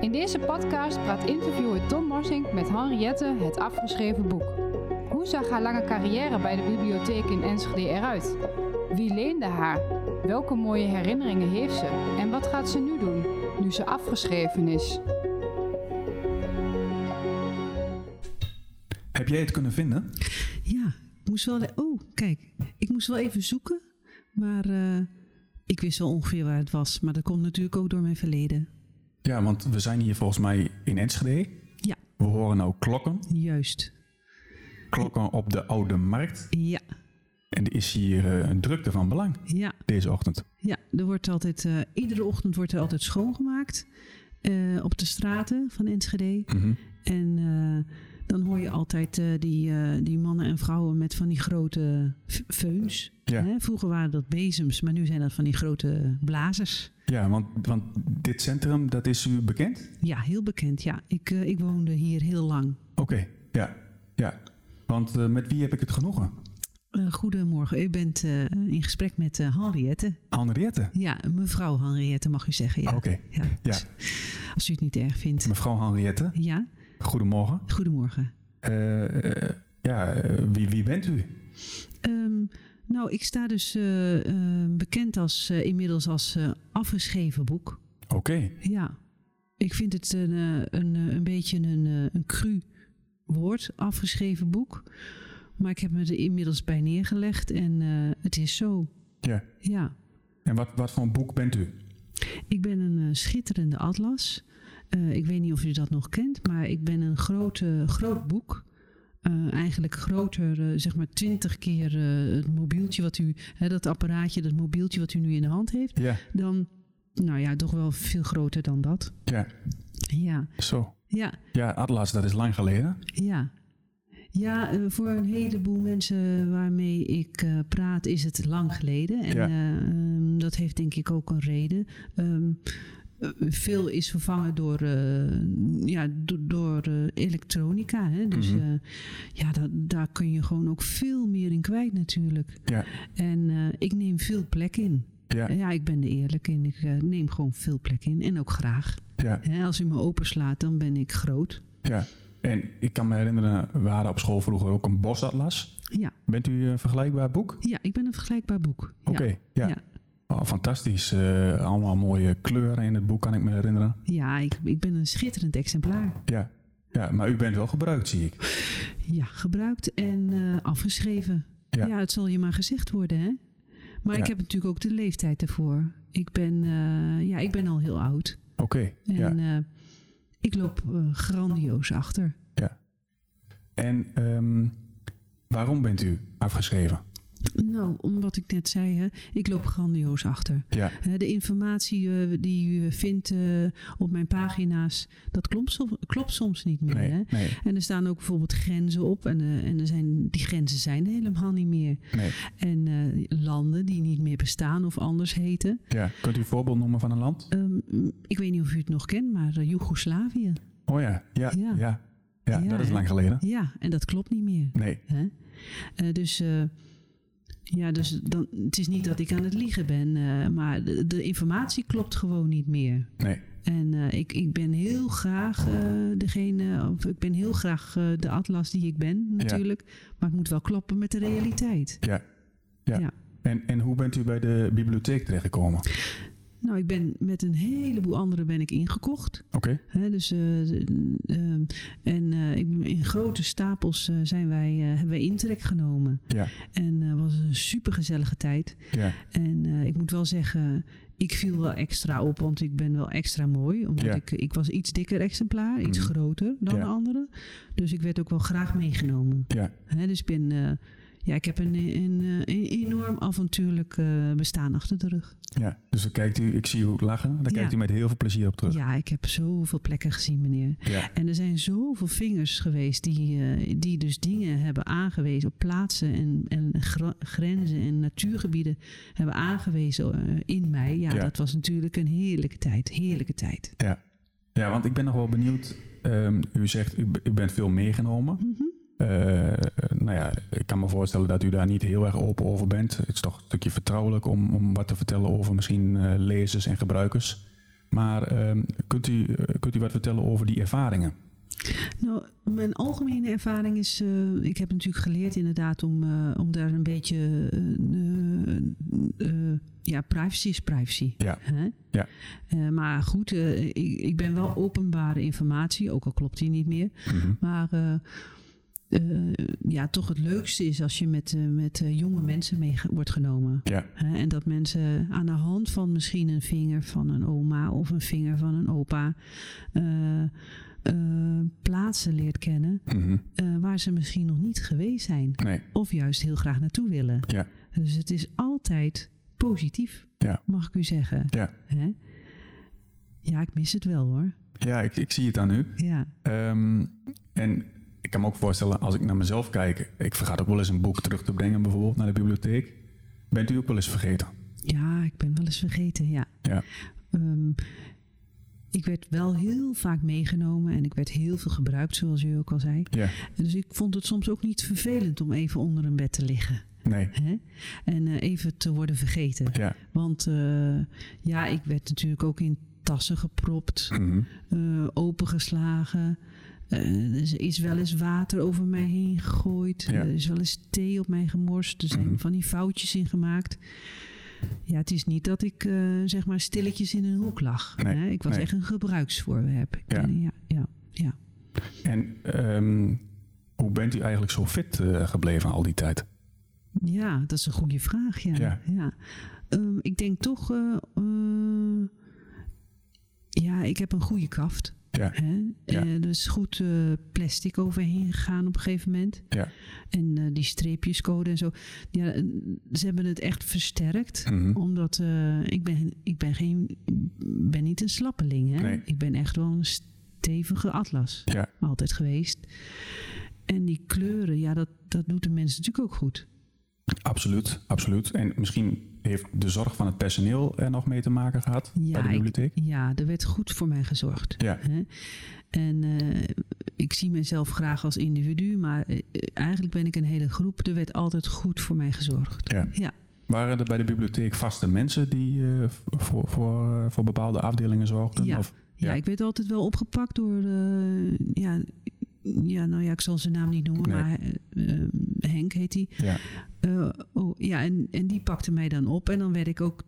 In deze podcast praat interviewer Tom Morsink met Henriette het afgeschreven boek. Hoe zag haar lange carrière bij de bibliotheek in Enschede eruit? Wie leende haar? Welke mooie herinneringen heeft ze? En wat gaat ze nu doen, nu ze afgeschreven is? Heb jij het kunnen vinden? Ja, ik moest wel. Oh, kijk, ik moest wel even zoeken, maar eh, ik wist wel ongeveer waar het was. Maar dat komt natuurlijk ook door mijn verleden. Ja, want we zijn hier volgens mij in Enschede. Ja, We horen nou klokken. juist. Klokken op de Oude Markt. Ja, En er is hier eh, een drukte van belang ja, deze ochtend. ja. Er wordt altijd, eh, iedere ochtend wordt er altijd schoongemaakt eh, op de straten van Enschede. Mhm. En eh, dan hoor je altijd eh, die, eh, die mannen en vrouwen met van die grote f- feuns. Ja. Hè? Vroeger waren dat bezems, maar nu zijn dat van die grote blazers. Ja, want, want dit centrum, dat is u bekend? Ja, heel bekend. Ja, ik, eh, ik woonde hier heel lang. Oké, ja. ja. Want eh, met wie heb ik het genoegen? Eh, goedemorgen, u bent eh, in gesprek met eh, Henriette. Henriette. Ja, mevrouw Henriette mag u zeggen. Ja. Oké, Ja, Oh, ja. Als u het niet erg vindt. Mevrouw Henriette, Ja, goedemorgen. goedemorgen. Eh, eh, ja, eh, wie, wie bent u? Ehm, nou, ik sta dus eh, eh, bekend als, eh, inmiddels als eh, afgeschreven boek. Oké, Ja, ik vind het een, eh, een, eh, een beetje een, eh, een cru woord, afgeschreven boek. Maar ik heb me er inmiddels bij neergelegd en eh, het is zo. ja. Ja. En wat, wat voor een boek bent u? Ik ben een eh, schitterende atlas. Eh, ik weet niet of u dat nog kent, maar ik ben een grote, groot boek. Eh, eigenlijk groter, eh, zeg maar twintig keer eh, het mobieltje wat u, hè, dat apparaatje, dat mobieltje wat u nu in de hand heeft. Ja, Dan, nou ja, toch wel veel groter dan dat. ja, Ja, zo. ja, Ja, Atlas, dat is lang geleden. ja. Ja, eh, voor een heleboel mensen waarmee ik eh, praat is het lang geleden. En Ja. eh, ehm, dat heeft denk ik ook een reden. Ehm, eh, veel is vervangen door, eh, ja, do- door eh, elektronica. Hè? Dus Mhm. eh, ja, da- daar kun je gewoon ook veel meer in kwijt natuurlijk. Ja. En eh, ik neem veel plek in. Ja, Ja, ik ben er eerlijk in. Ik eh, neem gewoon veel plek in. En ook graag. ja, Hè, als u me openslaat, dan ben ik groot. ja. En ik kan me herinneren, we hadden op school vroeger ook een bosatlas. Ja, Bent u een vergelijkbaar boek? ja ik ben een vergelijkbaar boek. Oké, Ja. ja. Ja. Oh, fantastisch. eh, allemaal mooie kleuren in het boek, kan ik me herinneren. Ja, ik, ik ben een schitterend exemplaar. Ja, ja maar u bent wel gebruikt, zie ik. Ja, gebruikt en eh, afgeschreven. Ja. Ja. het zal je maar gezegd worden, hè? Maar Ja. ik heb natuurlijk ook de leeftijd ervoor. Ik ben, eh, ja, ik ben al heel oud. Oké, En ja. eh, ik loop eh, grandioos achter. En ehm, waarom bent u afgeschreven? Nou, om wat ik net zei, hè, ik loop grandioos achter. Ja, Hè, De informatie eh, die u vindt eh, op mijn pagina's, dat klopt, som- klopt soms niet meer. Hè? nee, nee, En er staan ook bijvoorbeeld grenzen op. En, eh, en er zijn, die grenzen zijn er helemaal niet meer. nee. En eh, landen die niet meer bestaan of anders heten. Ja, kunt u een voorbeeld noemen van een land? Ehm, ik weet niet of u het nog kent, maar eh, Joegoslavië. Oh ja, ja, ja. Ja. Ja, Ja, dat is hè? lang geleden. Ja, en dat klopt niet meer. Nee, Hè? Eh, dus eh, ja, dus dan, het is niet dat ik aan het liegen ben, eh, maar de, de informatie klopt gewoon niet meer. nee. En eh, ik, ik ben heel graag eh, degene, of ik ben heel graag eh, de atlas die ik ben natuurlijk, maar het moet wel kloppen met de realiteit. Ja. ja. Ja. En, en hoe bent u bij de bibliotheek terechtgekomen? Oké. Nou, ik ben met een heleboel anderen ben ik ingekocht. Hè, dus, eh, eh, ehm, en eh, ik, in grote stapels eh, zijn wij, eh, hebben wij intrek genomen. Ja, En eh, was een supergezellige tijd. ja, En eh, ik moet wel zeggen, ik viel wel extra op, want ik ben wel extra mooi. Omdat Ja. ik, ik was iets dikker exemplaar, iets Mhm. groter dan Ja. de anderen. Dus ik werd ook wel graag meegenomen. ja. Hè, dus ik ben... eh, ja, ik heb een, een, eh, een enorm avontuurlijk eh, bestaan achter de rug. ja. Dus dan kijkt u, ik zie u lachen, daar Ja. kijkt u met heel veel plezier op terug. Ja, ik heb zoveel plekken gezien, meneer. Ja. En er zijn zoveel vingers geweest die, eh, die dus dingen hebben aangewezen op plaatsen en, en gra- grenzen en natuurgebieden hebben aangewezen eh, in mij. Ja, Ja. dat was natuurlijk een heerlijke tijd. Heerlijke tijd. Ja, want ik ben nog wel benieuwd. Ehm, u zegt, u, b- u bent veel meegenomen. Mhm. Eh, eh, nou ja, ik kan me voorstellen dat u daar niet heel erg open over bent. Het is toch een stukje vertrouwelijk om, om wat te vertellen over misschien eh, lezers en gebruikers. Maar ehm, kunt, u, eh, kunt u wat vertellen over die ervaringen? Nou, mijn algemene ervaring is, eh, ik heb natuurlijk geleerd inderdaad om, eh, om daar een beetje, eh, eh, ja, privacy is privacy. Ja. Hè? Ja. Eh, maar goed, eh, ik, ik ben wel openbare informatie, ook al klopt die niet meer. Mhm. Maar eh, eh, ja, toch het leukste is als je met, eh, met eh, jonge mensen mee ge- wordt genomen. Ja. Hè, en dat mensen aan de hand van misschien een vinger van een oma of een vinger van een opa eh, eh, plaatsen leert kennen Mhm. eh, waar ze misschien nog niet geweest zijn. Nee. Of juist heel graag naartoe willen. Ja. Dus het is altijd positief, Ja. mag ik u zeggen. Ja. Hè? ja, ik mis het wel hoor. Ja, ik, ik zie het aan u. Ja, Ehm, en ik kan me ook voorstellen, als ik naar mezelf kijk, ik vergaat ook wel eens een boek terug te brengen, bijvoorbeeld naar de bibliotheek. Bent u ook wel eens vergeten? ja ik ben wel eens vergeten, ja. Ja. Ehm, ik werd wel heel vaak meegenomen en ik werd heel veel gebruikt, zoals u ook al zei. Ja. Dus ik vond het soms ook niet vervelend om even onder een bed te liggen. Nee. Hè? En eh, even te worden vergeten. Ja. Want eh, ja, ik werd natuurlijk ook in tassen gepropt, Mhm. eh, opengeslagen. Eh, er is wel eens water over mij heen gegooid. Ja. Er is wel eens thee op mij gemorst. Er zijn Mhm. van die foutjes in gemaakt. Ja, het is niet dat ik eh, zeg maar stilletjes in een hoek lag. Nee, Hè? Ik was nee. echt een gebruiksvoorwerp. Ik Ja. ben- ja, ja, ja. En ehm, hoe bent u eigenlijk zo fit eh, gebleven al die tijd? Ja, dat is een goede vraag. Ja. Ja. ja. Ehm, ik denk toch. eh, eh, ja, ik heb een goede kaft. Ja. Hè? Ja. Eh, er is goed eh, plastic overheen gegaan op een gegeven moment. Ja. En eh, die streepjescode en zo. Ja, eh, ze hebben het echt versterkt. Mhm. Omdat eh, ik, ben, ik ben, geen, ben niet een slappeling. Hè? Nee. Ik ben echt wel een stevige atlas. Ja. Altijd geweest. En die kleuren, ja, dat, dat doet de mensen natuurlijk ook goed. Absoluut, absoluut. En misschien heeft de zorg van het personeel er nog mee te maken gehad bij de ik- bibliotheek? ja, er werd goed voor mij gezorgd. Ja. Hè? En eh, ik zie mezelf graag als individu, maar eh, eigenlijk ben ik een hele groep. Er werd altijd goed voor mij gezorgd. Ja. Ja. Waren er bij de bibliotheek vaste mensen die eh, v- voor, voor, eh, voor bepaalde afdelingen zorgden? Ja. Of, Ja, Ja. ik werd altijd wel opgepakt door. eh, ja, ja, nou ja, ik zal zijn naam niet noemen, Nee. maar eh, eh, Henk heet hij. ja. Eh, oh, ja, en, en die pakte mij dan op en dan werd ik ook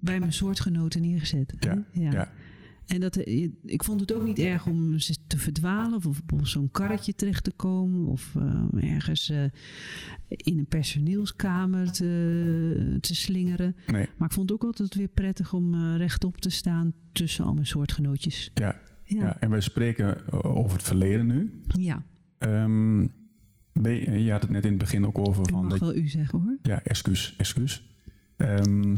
bij mijn soortgenoten neergezet. hè? Ja, ja. En dat, eh, ik vond het ook niet erg om ze te verdwalen of op zo'n karretje terecht te komen of eh, ergens eh, in een personeelskamer te, te slingeren. Nee. Maar ik vond het ook altijd weer prettig om eh, rechtop te staan tussen al mijn soortgenootjes. Ja, ja. Ja, en wij spreken eh, over het verleden nu. ja. Ehm, ben je, je had het net in het begin ook over dat van... mag Dat, wel u zeggen hoor. ja, excuus, excuus. Ehm,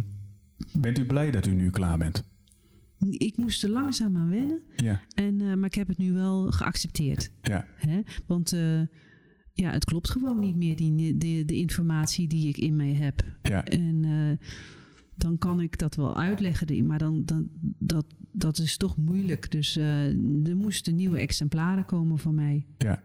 bent u blij dat u nu klaar bent? Ik moest er langzaam aan wennen, Ja, en, eh, maar ik heb het nu wel geaccepteerd. ja, Hè? Want eh, ja, het klopt gewoon niet meer, die, de, de informatie die ik in mij heb. ja, En eh, dan kan ik dat wel uitleggen, die- maar dan, dan, dat, dat is toch moeilijk. Dus eh, er moesten nieuwe exemplaren komen van mij. ja.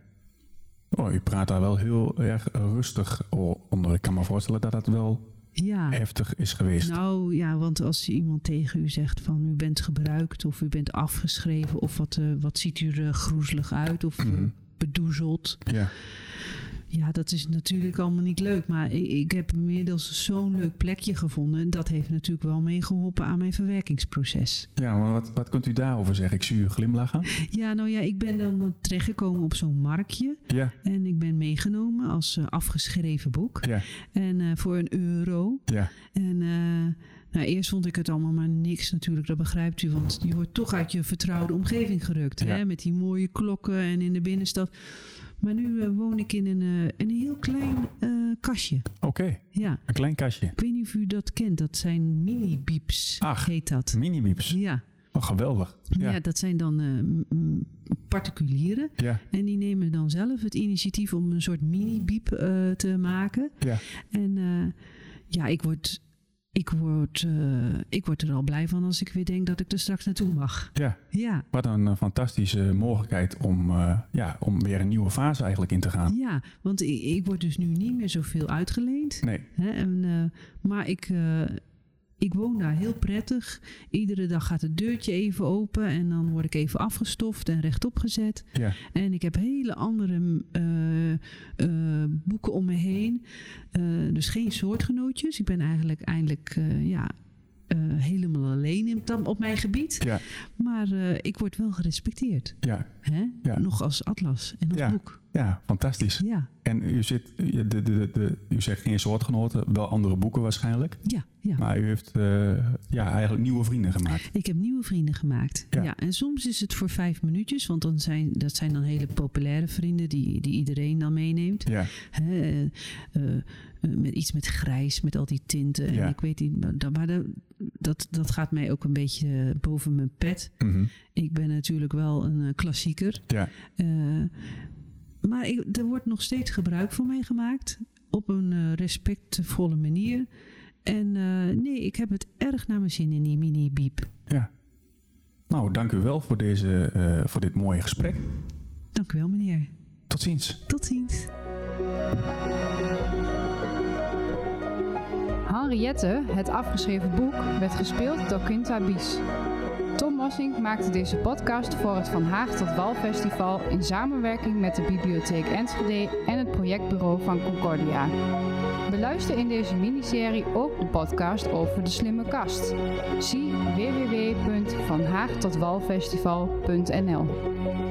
Oh, u praat daar wel heel erg rustig o- onder. Ik kan me voorstellen dat dat wel Ja. heftig is geweest. Nou ja, want als iemand tegen u zegt van u bent gebruikt of u bent afgeschreven of wat, eh, wat ziet u er groezelig uit of eh, Mhm. bedoezeld. Ja, Ja, dat is natuurlijk allemaal niet leuk, maar ik, ik heb inmiddels zo'n leuk plekje gevonden en dat heeft natuurlijk wel meegeholpen aan mijn verwerkingsproces. ja maar wat, wat kunt u daarover zeggen? Ik zie u glimlachen. Ja, nou ja, ik ben dan terechtgekomen op zo'n marktje. Ja, En ik ben meegenomen als eh, afgeschreven boek. ja, En eh, voor een euro. ja, En eh, nou, eerst vond ik het allemaal maar niks natuurlijk, dat begrijpt u. Want je wordt toch uit je vertrouwde omgeving gerukt. Ja. Hè? Met die mooie klokken en in de binnenstad. Maar nu eh, woon ik in een, eh, een heel klein eh, kastje. oké. Ja, Een klein kastje. ik weet niet of u dat kent. Dat zijn mini-bieps, Ach. heet dat. Mini-wieps. Ja. Oh, geweldig. Ja. dat zijn dan eh, m- m- particulieren. ja, En die nemen dan zelf het initiatief om een soort mini-biep eh, te maken. Ja. En eh, ja, ik word, ik, word, eh, ik word er al blij van als ik weer denk dat ik er straks naartoe mag. ja. Ja, Wat een eh, fantastische mogelijkheid om, eh, ja, om weer een nieuwe fase eigenlijk in te gaan. ja want ik, ik word dus nu niet meer zoveel uitgeleend. Nee, Hè? En, eh, maar ik, eh, ik woon daar heel prettig. Iedere dag gaat het deurtje even open en dan word ik even afgestoft en rechtop gezet. Ja. En ik heb hele andere eh, eh, boeken om me heen. Eh, dus geen soortgenootjes. Ik ben eigenlijk eindelijk eh, ja, eh, helemaal alleen in, tam- op mijn gebied. Ja. Maar eh, ik word wel gerespecteerd. Ja, Hè? Ja. Nog als atlas en als Ja. boek. ja, fantastisch. Ja, En u, zit, de, de, de, de- u zegt geen soortgenoten, wel andere boeken waarschijnlijk. ja, ja. Maar u heeft eh, ja, eigenlijk nieuwe vrienden gemaakt. Ik heb nieuwe vrienden gemaakt. Ja. Ja. en soms is het voor vijf minuutjes, want dan zijn, dat zijn dan hele populaire vrienden die, die iedereen dan meeneemt. Ja, Hè, eh, eh, eh, met iets met grijs, met al die tinten. Ja. En ik weet niet, maar, dat, maar dat- dat, dat gaat mij ook een beetje eh, boven mijn pet. mhm, Ik ben natuurlijk wel een eh, klassieker. ja, eh, maar ik, er wordt nog steeds gebruik van mij gemaakt. Op een eh, respectvolle manier. En eh, nee, ik heb het erg naar mijn zin in die mini-biep. ja. Nou, dank u wel voor, deze, eh, voor dit mooie gesprek. Dank u wel, meneer. Tot ziens. Tot ziens. Henriette, het afgeschreven boek, werd gespeeld door Quinta Bies. Tom Mossink maakte deze podcast voor het Van Haag tot Wal Festival in samenwerking met de Bibliotheek Enschede en het projectbureau van Concordia. Beluister in deze miniserie ook de podcast over de slimme kast. Zie www.vanhaagtotwalfestival.nl